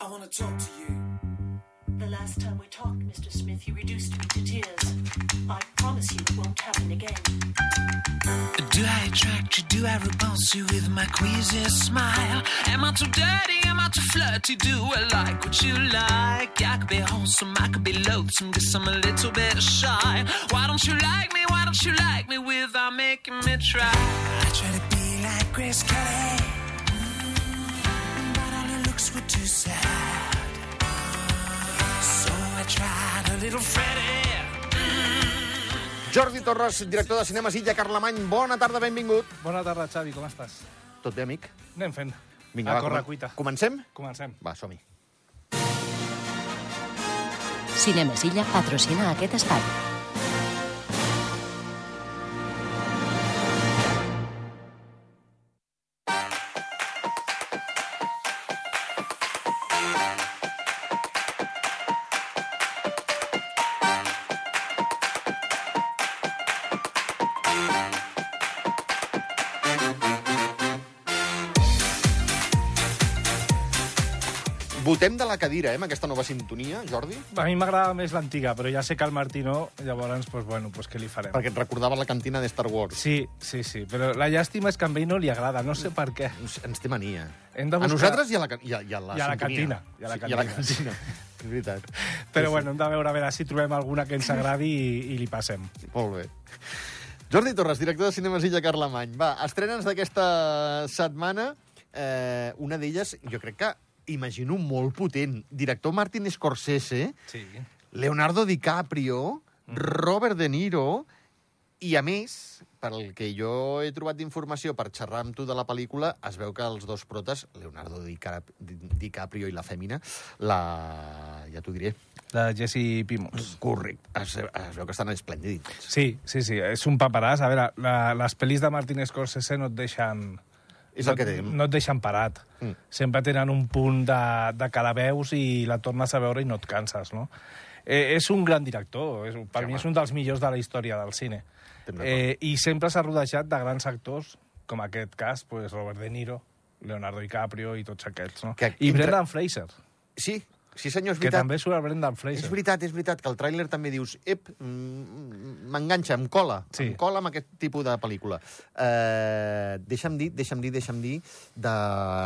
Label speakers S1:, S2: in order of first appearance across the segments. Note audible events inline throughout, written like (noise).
S1: I want to talk to you.
S2: The last time we talked, Mr. Smith, you reduced me to tears. I promise you it won't happen again.
S1: Do I attract you? Do I repulse you with my queasy smile? Am I too dirty? Am I too flirty? Do I like what you like? I could be wholesome, I could be loathsome, guess I'm a little bit shy. Why don't you like me? Why don't you like me without making me try? I try to be like Grace Kelly, mm, but all her looks were too sad. So I tried a little Freddie.
S3: Jordi Torres, director de Cinema Sitja, Carlemany, bona tarda, benvingut.
S4: Bona tarda, Xavi, com estàs?
S3: Tot bé, amic?
S4: Anem fent.
S3: Vinga,
S4: a
S3: va,
S4: córrer
S3: comen-
S4: cuita.
S3: Comencem?
S4: Comencem.
S3: Va, som-hi.
S5: Cinemesilla patrocina aquest espai.
S3: Votem de la cadira, eh, amb aquesta nova sintonia, Jordi?
S4: A mi m'agrada més l'antiga, però ja sé que el Martí no, llavors, doncs, bueno, doncs què li farem?
S3: Perquè et recordava la cantina de Star Wars.
S4: Sí, sí, sí, però la llàstima és que a ell no li agrada, no sé per què.
S3: Ens, ens té mania.
S4: Hem de
S3: A
S4: buscar-
S3: nosaltres i a la, ca- i a, i a la,
S4: I a
S3: sintonia.
S4: la cantina, i a
S3: Sí,
S4: la
S3: I a la
S4: cantina.
S3: cantina. És veritat.
S4: (laughs) Però bueno, hem de veure a veure si trobem alguna que ens agradi i, i li passem.
S3: Molt bé. Jordi Torres, director de Cinemes Illa Carlemany. Va, estrenes d'aquesta setmana, eh, una d'elles, jo crec que imagino molt potent. Director Martin Scorsese,
S4: Sí.
S3: Leonardo DiCaprio,
S4: Mm.
S3: Robert De Niro, i a més, pel que jo he trobat d'informació per xerrar amb tu de la pel·lícula, es veu que els dos protes, Leonardo Dicap Di- DiCaprio i la fèmina, la... ja t'ho diré,
S4: La Jessie Pimos.
S3: correcte, es, es veu que estan esplèndids.
S4: Sí, sí, sí, és un paperàs. A veure, la, les pel·lis de Martin Scorsese no et deixen...
S3: És el
S4: no,
S3: que tenim.
S4: No et deixen parat.
S3: Mm.
S4: Mm. Sempre tenen un punt de, de que la veus i la tornes a veure i no et canses, no? Eh, és un gran director, és, un- per
S3: Sí,
S4: sí, mi
S3: home.
S4: és un dels millors de la història del cine.
S3: Estem d'acord.
S4: Eh, I sempre s'ha rodejat de grans actors, com aquest cas, pues, Robert De Niro, Leonardo DiCaprio i tots aquests, no?
S3: Que
S4: I
S3: entre-
S4: Brendan Fraser,
S3: Sí, sí senyor, és
S4: que
S3: veritat.
S4: també surt el Brendan
S3: És
S4: Fraser.
S3: veritat, és veritat, que el tràiler també dius ep, mm, m'enganxa, em cola, sí.
S4: Sí.
S3: em cola amb aquest tipus de pel·lícula. Eh, deixa'm dir, deixa'm dir, deixa'm dir, de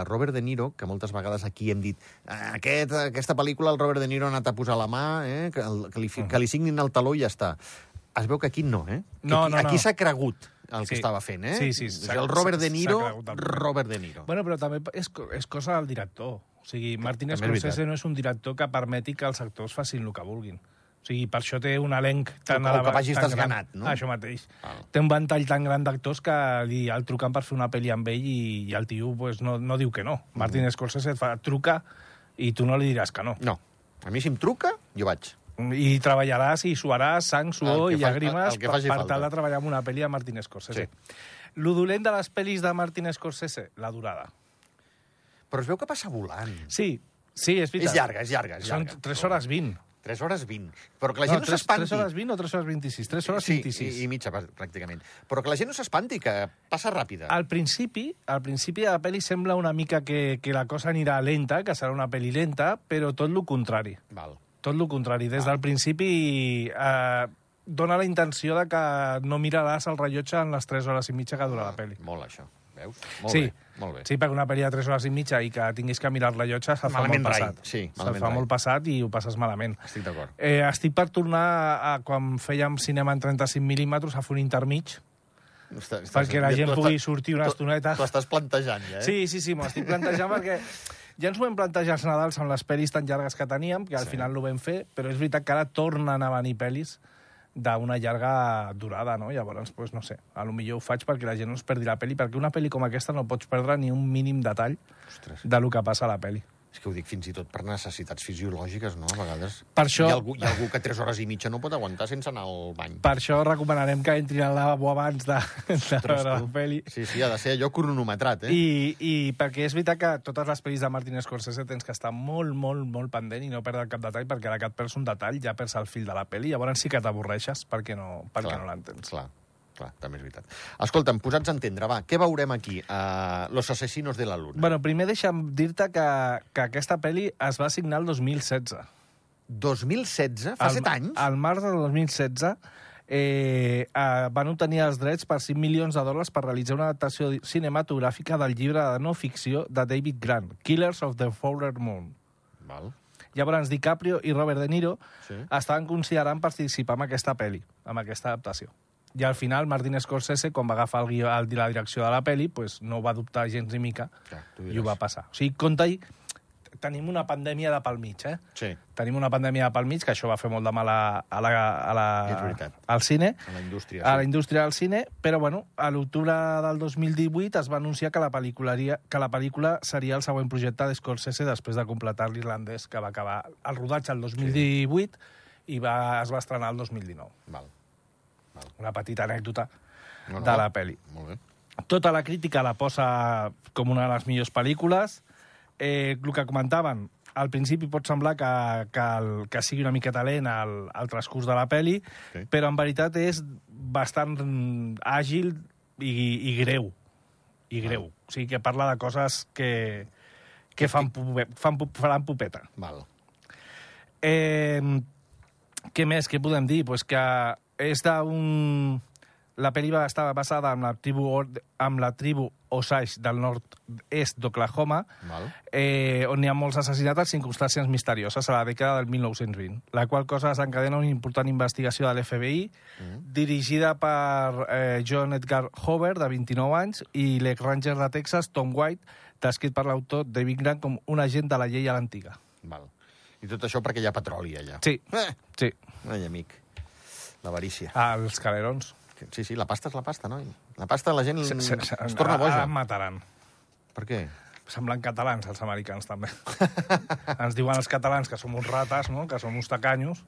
S3: Robert De Niro, que moltes vegades aquí hem dit "Ah, aquest, aquesta pel·lícula el Robert De Niro ha anat a posar la mà, eh, que, el, que, li, fi- que li signin el taló i ja està. Es veu que aquí no, eh? Que
S4: No,
S3: aquí,
S4: no, no.
S3: Aquí s'ha cregut el sí. que
S4: Sí.
S3: estava fent, eh?
S4: Sí, sí,
S3: És
S4: s'ha-
S3: el Robert De
S4: s'ha
S3: Niro,
S4: cregut el-
S3: Robert De Niro.
S4: Bueno, però també és, co- és cosa del director. O sigui, Martin
S3: també és
S4: Scorsese
S3: veritat.
S4: no és un director que permeti que els actors facin el que vulguin. O sigui, per això té un elenc
S3: O
S4: tan...
S3: que- o
S4: elevat-
S3: que vagis
S4: tan gran.
S3: desganat, no?
S4: Això mateix.
S3: Val.
S4: Té un ventall tan gran d'actors que li el truquen per fer una pel·li amb ell i, i el tio pues, no, no diu que no.
S3: Mm.
S4: Martin Scorsese et fa, et truca i tu no li diràs que no.
S3: No, a mi si em truca, jo vaig.
S4: I treballaràs i suaràs sang, suor
S3: Ah, El
S4: i
S3: que fa-
S4: llàgrimes
S3: el que
S4: per,
S3: faci
S4: per
S3: falta.
S4: tal de treballar en una pel·li de Martin Scorsese. Sí. Lo dolent de les pel·lis de Martin Scorsese, la durada.
S3: Però es veu que passa volant.
S4: Sí, sí, és veritat.
S3: És llarga, és llarga, és
S4: Són
S3: llarga.
S4: 3 hores 20.
S3: 3 hores 20. Però que la gent no,
S4: tres-
S3: s'espanti.
S4: tres hores 20 o 3 hores 26? 3 hores
S3: sí,
S4: 26.
S3: I, i mitja, pas- pràcticament. Però que la gent no s'espanti, que passa ràpida.
S4: Al principi, al principi de la pel·li sembla una mica que, que la cosa anirà lenta, que serà una pel·li lenta, però tot el contrari.
S3: Val.
S4: Tot el contrari.
S3: Ah.
S4: Des del principi eh, dona la intenció de que no miraràs el rellotge en les 3 hores i mitja que dura la pel·li.
S3: Molt, això. Veus? Ah, Molt
S4: sí,
S3: bé. Molt bé.
S4: sí, perquè una pel·li de 3 hores i mitja i que tinguis que mirar el rellotge se't fa
S3: Malament
S4: molt
S3: rai.
S4: passat.
S3: Sí,
S4: se't
S3: malament
S4: fa
S3: rai.
S4: molt passat i ho passes malament.
S3: Estic d'acord.
S4: Eh, estic per tornar a, a quan fèiem cinema en 35 mil·límetres a fer un intermig.
S3: Està- estàs-
S4: Perquè la gent
S3: tu
S4: pugui
S3: estàs-
S4: sortir una
S3: tu-
S4: estoneta.
S3: T'ho estàs plantejant, ja, eh?
S4: Sí, sí, sí, m'ho
S3: (laughs)
S4: estic plantejant perquè ja ens ho vam plantejar els Nadals amb les pel·lis tan llargues que teníem, que al
S3: Sí.
S4: sí. final ho vam fer, però és veritat que ara tornen a venir pel·lis d'una llarga durada, no? Llavors, pues, no sé, a lo millor ho faig perquè la gent no es perdi la pel·li, perquè una pel·li com aquesta no pots perdre ni un mínim detall
S3: Ostres,
S4: de lo que passa a la pel·li.
S3: és que ho dic fins i tot per necessitats fisiològiques, no? A vegades
S4: Per això-
S3: hi, ha algú, hi ha algú que 3 hores i mitja no pot aguantar sense anar al bany.
S4: Per això recomanarem que entrin al lavabo abans de, de
S3: Ostres,
S4: veure la
S3: tu.
S4: pel·li.
S3: Sí, sí, ha de ser allò cronometrat, eh?
S4: I, I perquè és veritat que totes les pel·lis de Martin Scorsese tens que estar molt, molt, molt pendent i no perdre cap detall, perquè ara que et perds un detall ja perds el fil de la pel·li, llavors sí que t'avorreixes perquè no, perquè
S3: Clar,
S4: no l'entens.
S3: Clar. Clar, també és veritat. Escolta'm, posats a entendre, va, què veurem aquí? Uh, Los asesinos de la luna.
S4: Bueno, primer deixa'm dir-te que, que aquesta pel·li es va signar el 2016.
S3: 2016? Fa
S4: Al-
S3: set anys?
S4: Al març del 2016 eh, eh, van obtenir els drets per 5 milions de dòlars per realitzar una adaptació di- cinematogràfica del llibre de no ficció de David Grant, Killers of the Fowler Moon.
S3: Val.
S4: Llavors, DiCaprio i Robert De Niro
S3: Sí.
S4: estaven considerant participar en aquesta pel·li, en aquesta adaptació. I al final, Martin Scorsese, quan va agafar el guió, el, la direcció de la pel·li, pues, no ho va dubtar gens ni mica
S3: Clar, tu
S4: i
S3: diràs.
S4: ho va passar. O sigui, compte-hi, tenim una pandèmia de pel mig, eh?
S3: Sí,
S4: Tenim una pandèmia de pel mig, que això va fer molt de mal a, a la, a la,
S3: És veritat.
S4: al cine,
S3: a la indústria.
S4: a la
S3: sí.
S4: indústria del cine, però bueno, a l'octubre del 2018 es va anunciar que la, pel·lícularia- que la pel·lícula seria el següent projecte d'Scorsese després de completar l'irlandès, que va acabar el rodatge el 2018 i va, es va estrenar el 2019.
S3: Val.
S4: Una petita anècdota
S3: No, no.
S4: de la pel·li
S3: Molt bé.
S4: tota la crítica la posa com una de les millors pel·lícules. Eh, el que comentaven, al principi pot semblar que, que, el, que sigui una miqueta lent el, el transcurs de la pe·li,
S3: Sí.
S4: però en veritat és bastant mm, àgil i, i greu. I greu. O sigui, que parla de coses que, Ah. que fan, pupe- fan, pu- faran pupeta.
S3: Val.
S4: Eh, què més? Què podem dir? Pues que és d'un... La pel·li va estar basada en la tribu, Or- amb la tribu Osage del nord-est d'Oklahoma,
S3: Val.
S4: eh, on hi ha molts assassinats en circumstàncies misterioses a la dècada del 1920, la qual cosa desencadena una important investigació de l'FBI mm. dirigida per eh, John Edgar Hoover, de 29 anys, i l'ex-ranger de Texas, Tom White, descrit per l'autor David Grant com un agent de la llei a l'antiga.
S3: Val. I tot això perquè hi ha petroli allà.
S4: Sí,
S3: Eh,
S4: sí.
S3: ai, amic. L'avarícia.
S4: Els calerons.
S3: Sí, sí, la pasta és la pasta, no? La pasta la gent
S4: Se- se- se- Ah,
S3: es torna boja.
S4: Mm, Ara em mataran.
S3: Per què?
S4: Semblen catalans, els americans, també. (laughs) Ens diuen els catalans que som uns rates, no? que som uns tacanyos,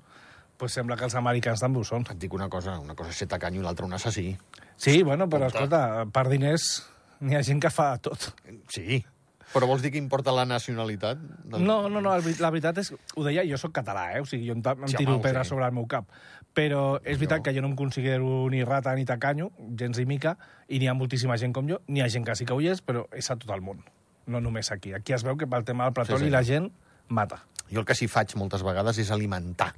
S4: pues sembla que els americans també ho són.
S3: Et dic una cosa, una cosa és ser tacanyo i l'altra un assassí.
S4: Sí, bueno, però escolta, per diners n'hi ha gent que fa de tot.
S3: Sí. Però vols dir que importa la nacionalitat? Doncs Del...
S4: No, no, no, la veri- la veritat és... Ho deia, jo sóc català, eh? O sigui, jo em, ta- em
S3: Sí, home,
S4: tiro
S3: ho
S4: pedra
S3: sé.
S4: sobre el meu cap. Però és veritat que jo no em considero ni rata ni tacanyo, gens ni mica, i n'hi ha moltíssima gent com jo, n'hi ha gent que sí que ho és, però és a tot el món, no només aquí. Aquí es veu que pel tema del
S3: Sí,
S4: petroli
S3: sí.
S4: la gent mata.
S3: Jo el que sí faig moltes vegades és alimentar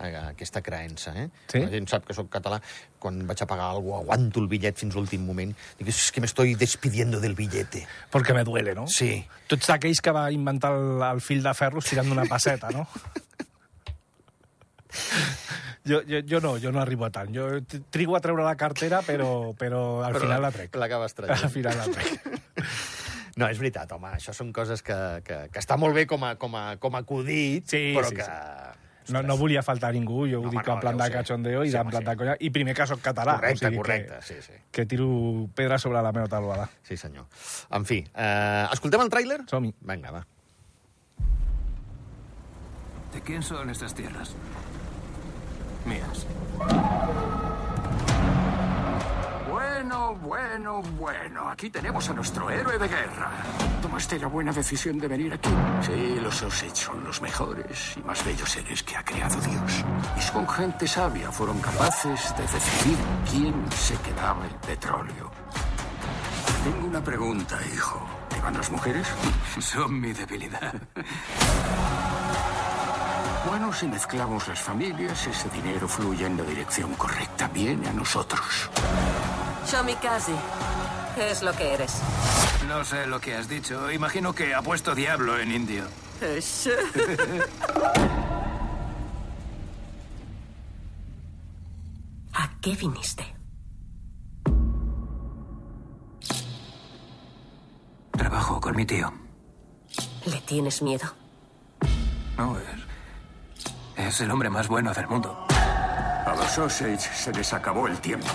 S3: eh, aquesta creença, eh?
S4: Sí?
S3: La gent sap que sóc català. Quan vaig a pagar alguna cosa, aguanto el bitllet fins l'últim moment. Dic, és que m'estoy despidiendo del billete.
S4: Perquè me duele, no?
S3: Sí.
S4: Tu ets d'aquells que va inventar el, el fil de ferro tirant d'una passeta, no? Jo, jo, jo no, jo no arribo a tant. Jo t- trigo a treure la cartera, però, però al però final la trec.
S3: L'acabes
S4: (laughs) Al
S3: traient.
S4: final la trec.
S3: No, és veritat, home, això són coses que, que, que està molt bé com a, com a, com a acudit,
S4: Sí,
S3: però
S4: sí,
S3: que...
S4: No, no volia faltar a ningú, jo ho
S3: Home,
S4: dic
S3: no,
S4: en plan
S3: ja ho
S4: de
S3: sé.
S4: cachondeo i
S3: Sí,
S4: en
S3: home,
S4: plan
S3: sí.
S4: de conya. I primer que soc català.
S3: Correcte,
S4: o sigui
S3: correcte,
S4: Que,
S3: sí, sí.
S4: que tiro pedra sobre la meva taulada.
S3: Sí, senyor. En fi, eh, escoltem el tràiler?
S4: Som-hi.
S3: Vinga, va.
S6: ¿De quién son estas tierras? Mías.
S7: Bueno, bueno, bueno. Aquí tenemos a nuestro héroe de guerra. Tomaste la buena decisión de venir aquí. Sí, los Osage son los mejores y más bellos seres que ha creado Dios. Y son gente sabia. Fueron capaces de decidir quién se quedaba el petróleo. Tengo una pregunta, hijo. ¿Te van las mujeres?
S6: (laughs) Son mi debilidad.
S7: Bueno, si mezclamos las familias, ese dinero fluye en la dirección correcta. Viene a nosotros.
S8: Shomikaze, es lo que eres.
S6: No sé lo que has dicho. Imagino que ha puesto diablo en indio. (laughs)
S8: Es- ¿A qué viniste?
S6: Trabajo con mi tío.
S8: ¿Le tienes miedo?
S6: No, es... Es el hombre más bueno del mundo.
S7: A los Osage se les acabó el tiempo.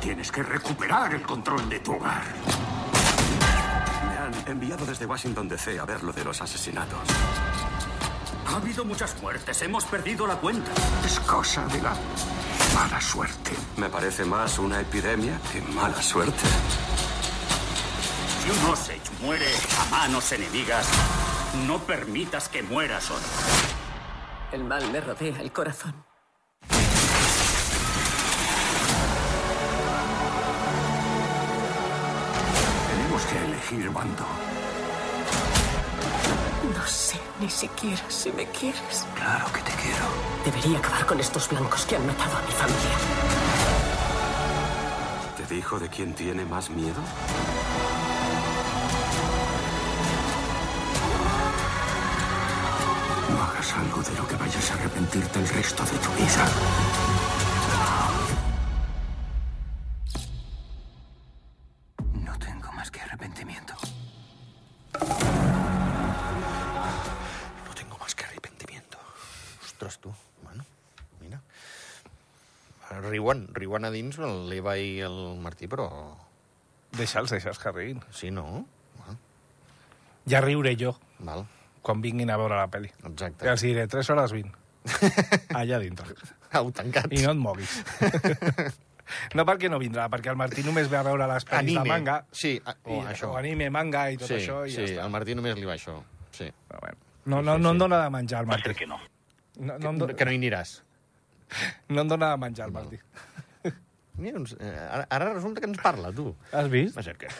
S7: Tienes que recuperar el control de tu hogar.
S9: Me han enviado desde Washington DC a ver lo de los asesinatos.
S7: Ha habido muchas muertes, hemos perdido la cuenta. Es cosa de la mala suerte.
S9: Me parece más una epidemia que mala suerte.
S7: Si un Osage muere a manos enemigas, no permitas que muera solo.
S8: El mal me rodea el corazón.
S7: tenemos que elegir bando.
S8: No sé ni siquiera si me quieres.
S7: Claro que te quiero.
S8: Debería acabar con estos blancos que han matado a mi familia.
S9: ¿Te dijo de quién tiene más miedo?
S7: No hagas algo de lo que vayas a arrepentirte el resto de tu vida.
S6: No tengo más que arrepentimiento.
S3: No tengo más que arrepentimiento. Ostres, tu, bueno, mira. Riuen, riuen a dins l'Eva i el Martí, però...
S4: Deixa'ls, deixa'ls que riguin.
S3: Sí, no? Bueno,
S4: Ja riuré jo
S3: val,
S4: quan vinguin a veure la pel·li.
S3: exacte.
S4: Ja els diré 3 hores
S3: (laughs)
S4: 20. Allà dintre.
S3: Au, tancats.
S4: I no et moguis.
S3: (laughs)
S4: No perquè no vindrà, perquè el Martí només ve a veure les pel·lis
S3: Anime.
S4: de manga.
S3: Sí, a- o
S4: i,
S3: això.
S4: O anime, manga i tot
S3: sí,
S4: això. I
S3: sí,
S4: ja està.
S3: al Martí només li va això. Sí.
S4: Però bueno, no, no, no em dóna de menjar el Martí. Que no. No, no, em do...
S3: Que no hi aniràs.
S4: no em dóna de menjar el Martí.
S3: Mira, uns, eh, ara, ara resulta que ens parla, tu.
S4: Has vist?
S3: Va ser (laughs) que...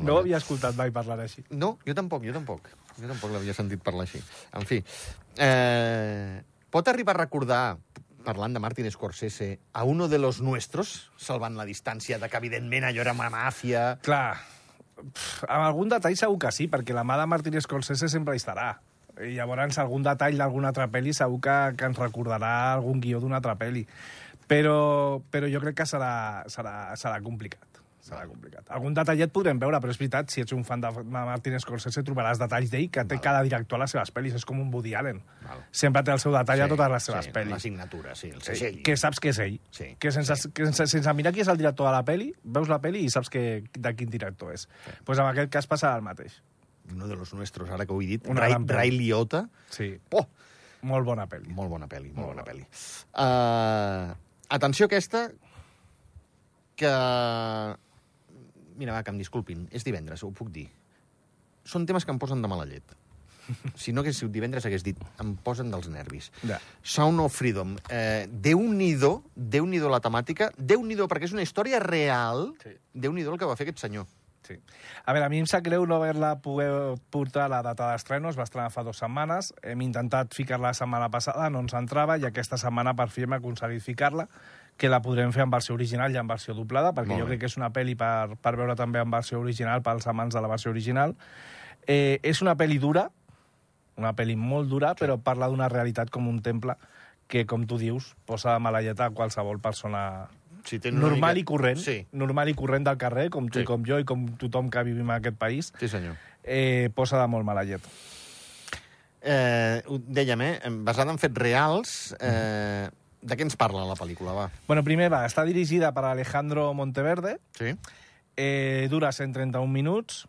S4: No ho havia escoltat mai parlar així.
S3: No, jo tampoc, jo tampoc. Jo tampoc l'havia sentit parlar així. En fi, eh, pot arribar a recordar, parlant de Martin Scorsese, a uno de los nuestros, salvant la distància de que, evidentment, allò era una màfia...
S4: Clar, pf, amb algun detall segur que sí, perquè la mà de Martin Scorsese sempre hi estarà. I llavors algun detall d'alguna altra pel·li segur que, que ens recordarà algun guió d'una altra pel·li. Però, però jo crec que serà, serà, serà complicat. Serà complicat. Algun detallet podrem veure, però és veritat, si ets un fan de de Martin Scorsese trobaràs detalls d'ell que té cada director a les seves pel·lis. És com un Woody Allen.
S3: Val.
S4: Sempre té el seu detall a totes les seves
S3: sí, La
S4: pel·lis
S3: signatura, sí, el segell.
S4: que saps que és ell.
S3: Sí,
S4: que sense, sí. que sense, sense mirar qui és el director de la peli, veus la peli i saps que, de quin director és. Doncs pues en aquest cas passarà el mateix.
S3: Eh, Uno de los nuestros, ara que ho he dit.
S4: Una
S3: Ray,
S4: gran pel·li.
S3: Ray Liotta.
S4: Sí,
S3: Oh,
S4: molt bona peli.
S3: molt bona pel·li, molt bona pel·li. Uh, atenció aquesta, que... Mira, va, que em disculpin, és divendres, ho puc dir. Són temes que em posen de mala (laughs) llet. Si no hagués sigut divendres, hagués dit, em posen dels nervis.
S4: Ja.
S3: Sound of Freedom. Eh, Déu-n'hi-do, déu nhi déu la temàtica, Déu-n'hi-do, perquè és una història real,
S4: Sí.
S3: Déu-n'hi-do el que va fer aquest senyor.
S4: Sí. A veure, a mi em sap greu no haver-la poder portar a la data d'estreno, es va estrenar fa dues setmanes, hem intentat ficar-la la setmana passada, no ens entrava, i aquesta setmana per fi hem aconseguit ficar-la, que la podrem fer en versió original i en versió doblada, perquè
S3: Molt
S4: jo
S3: bé.
S4: crec que és una pel·li per, per veure també en versió original, pels amants de la versió original. Eh, és una pel·li dura, una pel·li molt dura, però parla d'una realitat com un temple que, com tu dius, posa de mala lleta a qualsevol persona
S3: Si tens una
S4: normal
S3: mica-
S4: i corrent,
S3: Sí,
S4: normal i corrent del carrer, com tu
S3: Sí.
S4: i com jo i com tothom que vivim en aquest país,
S3: sí senyor.
S4: eh, posa de molt mala llet.
S3: Eh, ho dèiem, eh? Basada en fets reals, eh, de què ens parla la pel·lícula, va?
S4: Bueno, primer va, està dirigida per Alejandro Monteverde,
S3: Sí?
S4: eh, dura 131 minuts,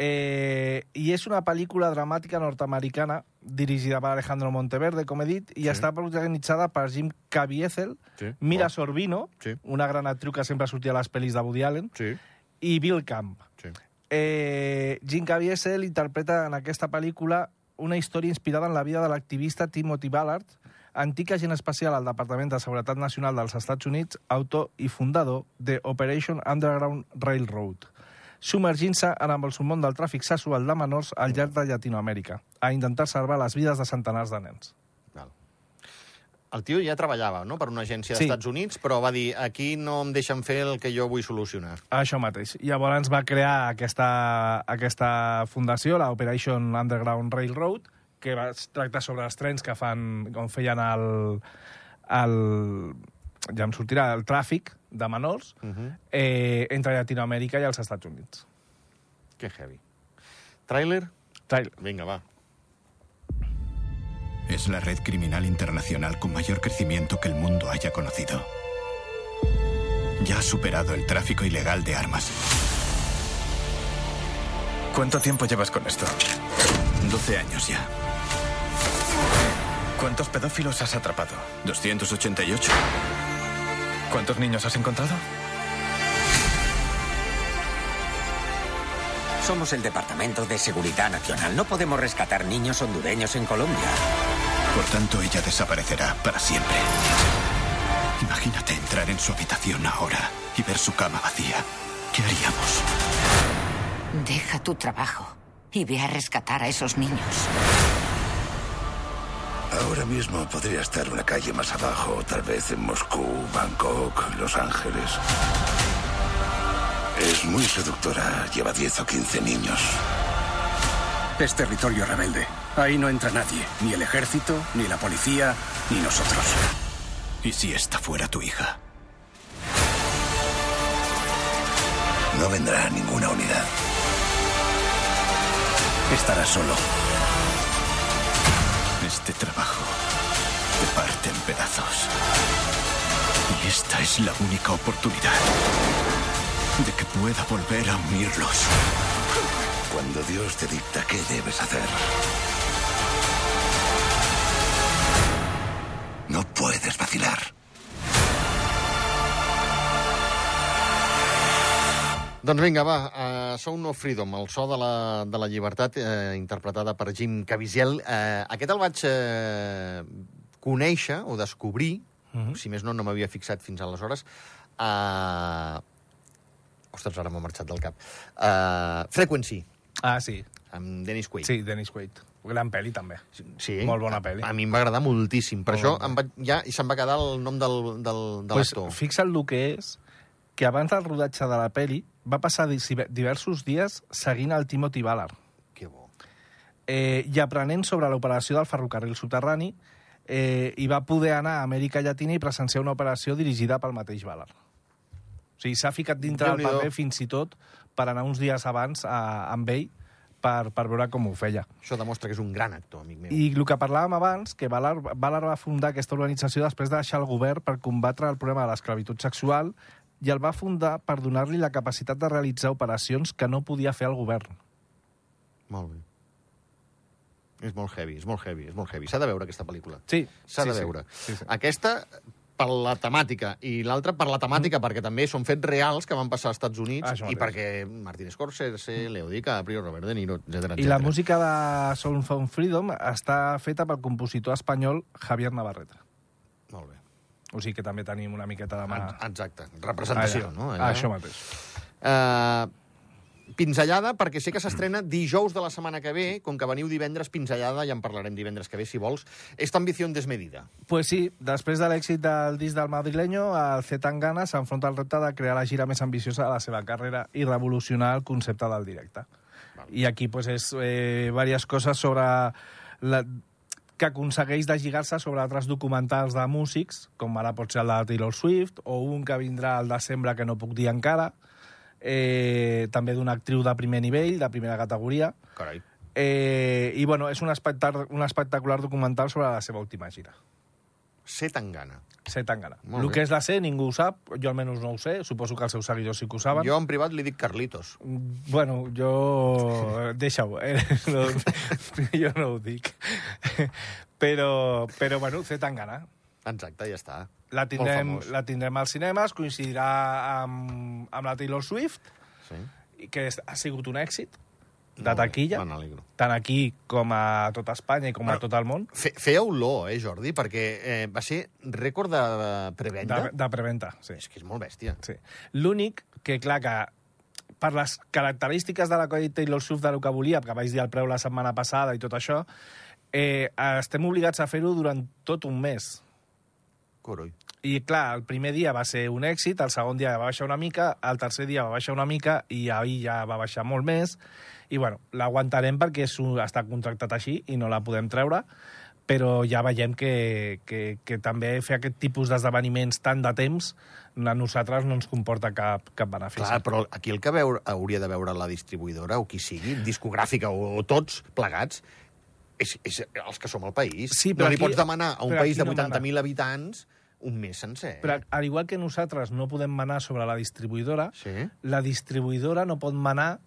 S4: eh, i és una pel·lícula dramàtica nord-americana dirigida per Alejandro Monteverde, com he dit, i
S3: Sí.
S4: està protagonitzada per Jim Caviezel,
S3: Sí.
S4: Mira
S3: Oh.
S4: Sorbino,
S3: Sí.
S4: una gran actriu que sempre sortia a les pel·lis de Woody Allen,
S3: Sí,
S4: i Bill Camp.
S3: sí.
S4: Eh, Jim Caviezel interpreta en aquesta pel·lícula una història inspirada en la vida de l'activista Timothy Ballard, antic agent especial al Departament de Seguretat Nacional dels Estats Units, autor i fundador de Operation Underground Railroad, submergint-se en el món del tràfic sexual de menors al llarg de Llatinoamèrica, a intentar salvar les vides de centenars de nens.
S3: Val. El tio ja treballava, no?, per una agència
S4: Sí.
S3: d'Estats Units, però va dir, aquí no em deixen fer el que jo vull solucionar.
S4: Això mateix. Llavors va crear aquesta, aquesta fundació, la Operation Underground Railroad, que va es tractar sobre els trens que fan, com feien el, el ja em sortirà, el tràfic de menors uh
S3: Mhm.
S4: -huh. eh, entre Llatinoamèrica i els Estats Units.
S3: Que heavy. Tràiler?
S4: Trailer.
S3: Vinga, va.
S10: Es la red criminal internacional con mayor crecimiento que el mundo haya conocido. Ya ha superado el tráfico ilegal de armas.
S6: ¿Cuánto tiempo llevas con esto?
S10: 12 años ya.
S6: ¿Cuántos pedófilos has atrapado?
S10: 288.
S6: ¿Cuántos niños has encontrado?
S1: Somos el Departamento de Seguridad Nacional. No podemos rescatar niños hondureños en Colombia.
S10: Por tanto, ella desaparecerá para siempre. Imagínate entrar en su habitación ahora y ver su cama vacía. ¿Qué haríamos?
S11: Deja tu trabajo y ve a rescatar a esos niños.
S9: Ahora mismo podría estar una calle más abajo, tal vez en Moscú, Bangkok, Los Ángeles. Es muy seductora, lleva 10 o 15 niños.
S6: Es territorio rebelde. Ahí no entra nadie, ni el ejército, ni la policía, ni nosotros.
S10: ¿Y si esta fuera tu hija?
S9: No vendrá ninguna unidad. Estará solo.
S10: Este trabajo te parte en pedazos. Y esta es la única oportunidad de que pueda volver a unirlos.
S9: Cuando Dios te dicta qué debes hacer, no puedes vacilar.
S3: Doncs vinga, va, uh, Sound of Freedom, el so de la, de la llibertat, eh, interpretada per Jim Caviezel. Eh, aquest el vaig eh, conèixer o descobrir,
S4: Mhm.
S3: si més no, no m'havia fixat fins aleshores, a... Ostres, ara m'ha marxat del cap. Uh, Frequency,
S4: Ah, sí.
S3: amb Dennis Quaid.
S4: Sí, Dennis Quaid. Gran pel·li, també.
S3: Sí,
S4: Molt bona
S3: a-
S4: pel·li.
S3: A mi em va agradar moltíssim. Per
S4: Molt
S3: això
S4: bona
S3: em va, ja i se'm va quedar el nom del, del, de
S4: pues,
S3: l'actor.
S4: fixa't el que és, que abans del rodatge de la peli va passar di- diversos dies seguint el Timothy Ballard
S3: Que bo.
S4: eh, i aprenent sobre l'operació del ferrocarril subterrani eh, i va poder anar a Amèrica Llatina i presenciar una operació dirigida pel mateix Ballard. O sigui, s'ha ficat dintre del
S3: Déu-n'hi-do.
S4: paper fins i tot per anar uns dies abans a, amb ell per, per veure com ho feia.
S3: Això demostra que és un gran actor, amic meu.
S4: I el que parlàvem abans, que Ballard, Ballard va fundar aquesta organització després de deixar el govern per combatre el problema de l'esclavitud sexual i el va fundar per donar-li la capacitat de realitzar operacions que no podia fer el govern.
S3: Molt bé. És molt heavy, és molt heavy, és molt heavy. S'ha de veure aquesta pel·lícula.
S4: Sí,
S3: S'ha
S4: sí,
S3: de
S4: sí.
S3: veure.
S4: Sí, sí.
S3: Aquesta per la temàtica i l'altra per la temàtica, perquè també són fets reals que van passar als Estats Units
S4: Mm. Això
S3: i
S4: mateix. Mm.
S3: perquè Martin Scorsese, Leo DiCaprio, Robert De Niro, etc.
S4: I la música de Soul from Freedom està feta pel compositor espanyol Javier Navarrete.
S3: Molt bé. Ah,
S4: O sigui que també tenim una miqueta de mà...
S3: Exacte, representació,
S4: Allà.
S3: no?
S4: Això mateix.
S3: Eh, pinzellada, perquè sé que s'estrena dijous de la setmana que ve, com que veniu divendres, pinzellada, ja en parlarem divendres que ve, si vols. Esta ambició desmedida.
S4: Pues sí, després de l'èxit del disc del madrileño, el C. Tangana s'enfronta al repte de crear la gira més ambiciosa de la seva carrera i revolucionar el concepte del directe. I aquí pues, és eh, diverses coses sobre la, que aconsegueix deslligar-se sobre altres documentals de músics, com ara pot ser el de Taylor Swift, o un que vindrà al desembre que no puc dir encara, eh, també d'una actriu de primer nivell, de primera categoria,
S3: Carai.
S4: eh, i bueno, és un, espectac un espectacular documental sobre la seva última gira.
S3: Ser tan gana.
S4: C. Tangana.
S3: Molt
S4: El
S3: bé.
S4: que és la C ningú ho sap, jo almenys no ho sé, suposo que els seus seguidors sí que ho saben.
S3: Jo en privat li dic Carlitos.
S4: Bueno, jo... Deixa-ho, eh? (laughs) No, jo no ho dic. Però, però bueno, C. Tangana.
S3: Exacte, ja està.
S4: La
S3: Molt
S4: tindrem,
S3: famós.
S4: la tindrem als cinemes, coincidirà amb, amb la Taylor Swift,
S3: Sí.
S4: i que és- ha sigut un èxit de
S3: Molt bé,
S4: taquilla,
S3: me n'alegro.
S4: tant aquí com a tot Espanya i com
S3: Bueno,
S4: a tot el món,
S3: Fe, feia olor, eh, Jordi? Perquè eh, va ser rècord de prevenda.
S4: de, de preventa. Sí.
S3: És que és molt bèstia.
S4: Sí. L'únic que, clar, que per les característiques de la Cody Taylor Swift del que volia, que vaig dir el preu la setmana passada i tot això, eh, estem obligats a fer-ho durant tot un mes.
S3: Coroi.
S4: I, clar, el primer dia va ser un èxit, el segon dia va baixar una mica, el tercer dia va baixar una mica i ahir ja va baixar molt més. I, bueno, l'aguantarem perquè és un, està contractat així i no la podem treure, però ja veiem que, que, que també fer aquest tipus d'esdeveniments tant de temps a nosaltres no ens comporta cap, cap benefici.
S3: Clar, però aquí el que veure, hauria de veure la distribuïdora o qui sigui, discogràfica o, o tots plegats, és, és els que som al país.
S4: Sí,
S3: no
S4: però
S3: li
S4: aquí-
S3: pots demanar a un
S4: però
S3: país de
S4: aquí no mana.
S3: 80.000 habitants un mes sencer.
S4: Però al igual que nosaltres no podem manar sobre la distribuïdora,
S3: Sí?
S4: la distribuïdora no pot manar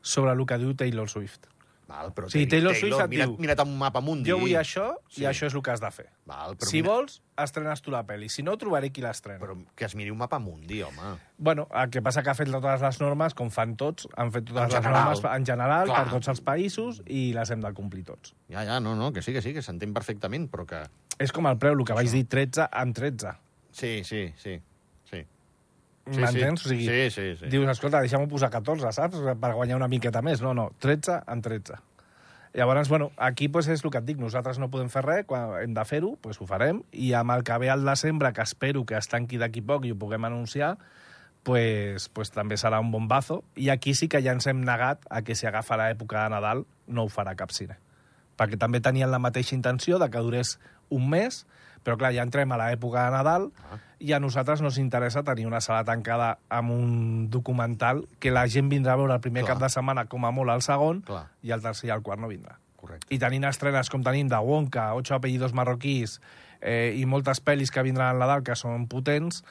S4: sobre el que diu Taylor Swift.
S3: Val, però
S4: Sí, Taylor Swift et
S3: mira't,
S4: diu,
S3: Mira't un mapa mundi.
S4: Jo vull això
S3: Sí.
S4: i això és el que has de fer.
S3: Val, però
S4: si
S3: mira-
S4: vols, estrenes tu la pel·li. Si no, trobaré qui l'estrena.
S3: Però que es miri un mapa mundi, home.
S4: Bueno, el que passa que ha fet totes les normes, com fan tots, han fet totes
S3: En
S4: les
S3: general.
S4: normes en general
S3: Clar.
S4: per tots els països i les hem de complir tots.
S3: Ja, ja, no, no, que sí, que sí, que s'entén perfectament, però que...
S4: És com el preu, el que vaig dir, 13 amb 13.
S3: Sí, sí, sí, sí. Sí,
S4: M'entens?
S3: sí.
S4: O sigui,
S3: Sí, sí, sí.
S4: dius, escolta, deixa'm posar 14, saps? O sigui, Per guanyar una miqueta més. No, no, 13 en 13. Llavors, bueno, aquí pues, és el que et dic, nosaltres no podem fer res, quan hem de fer-ho, pues, ho farem, i amb el que ve al desembre, que espero que es tanqui d'aquí poc i ho puguem anunciar, pues, pues també serà un bombazo, i aquí sí que ja ens hem negat a que si agafa l'època de Nadal no ho farà cap cine. Perquè també tenien la mateixa intenció de que durés un mes, però clar, ja entrem a l'època de Nadal
S3: Ah.
S4: i a nosaltres no ens interessa tenir una sala tancada amb un documental que la gent vindrà a veure el primer
S3: Clar.
S4: cap de setmana com a molt al segon
S3: Clar.
S4: i el tercer i el quart no vindrà.
S3: Correcte.
S4: I tenint estrenes com tenim de Wonka, Ocho apellidos marroquís eh, i moltes pel·lis que vindran a Nadal que són potents,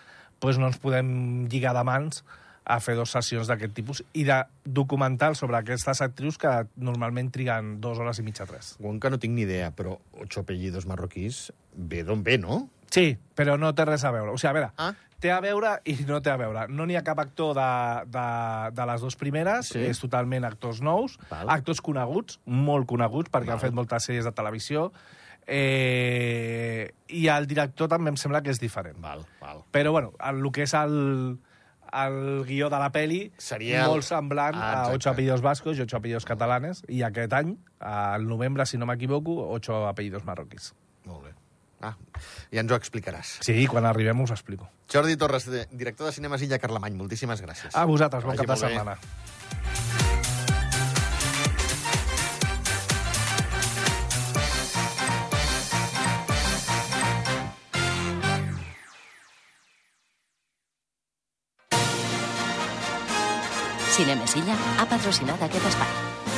S4: doncs no ens podem lligar de mans a fer dues sessions d'aquest tipus i de documental sobre aquestes actrius que normalment triguen dues hores i mitja, tres.
S3: Wonka no tinc ni idea, però ocho apellidos marroquís ve d'on ve, no?
S4: Sí, però no té res a veure. O sigui, a veure, ah? té a veure i no té a veure. No n'hi ha cap actor de, de, de les dues primeres,
S3: Sí.
S4: sí. és totalment actors nous, Val. actors coneguts, molt coneguts, perquè Val. han fet moltes sèries de televisió, eh, i el director també em sembla que és diferent.
S3: Val, val.
S4: Però, bueno, el, el que és el, el guió de la peli
S3: Seria el-
S4: molt semblant
S3: Ah,
S4: ah, a
S3: exacte.
S4: Ocho apellidos vascos i Ocho apellidos catalanes, i aquest any, al novembre, si no m'equivoco, Ocho apellidos marroquís.
S3: Molt bé. Ah, ja ens ho explicaràs.
S4: Sí, quan arribem us explico.
S3: Jordi Torres, de- director de Cinemes Illa Carlemany, moltíssimes gràcies.
S4: A vosaltres, bon
S3: Que
S4: cap
S3: vagi
S4: de
S3: molt bé.
S4: setmana.
S5: Cinemesilla ha patrocinat aquest espai.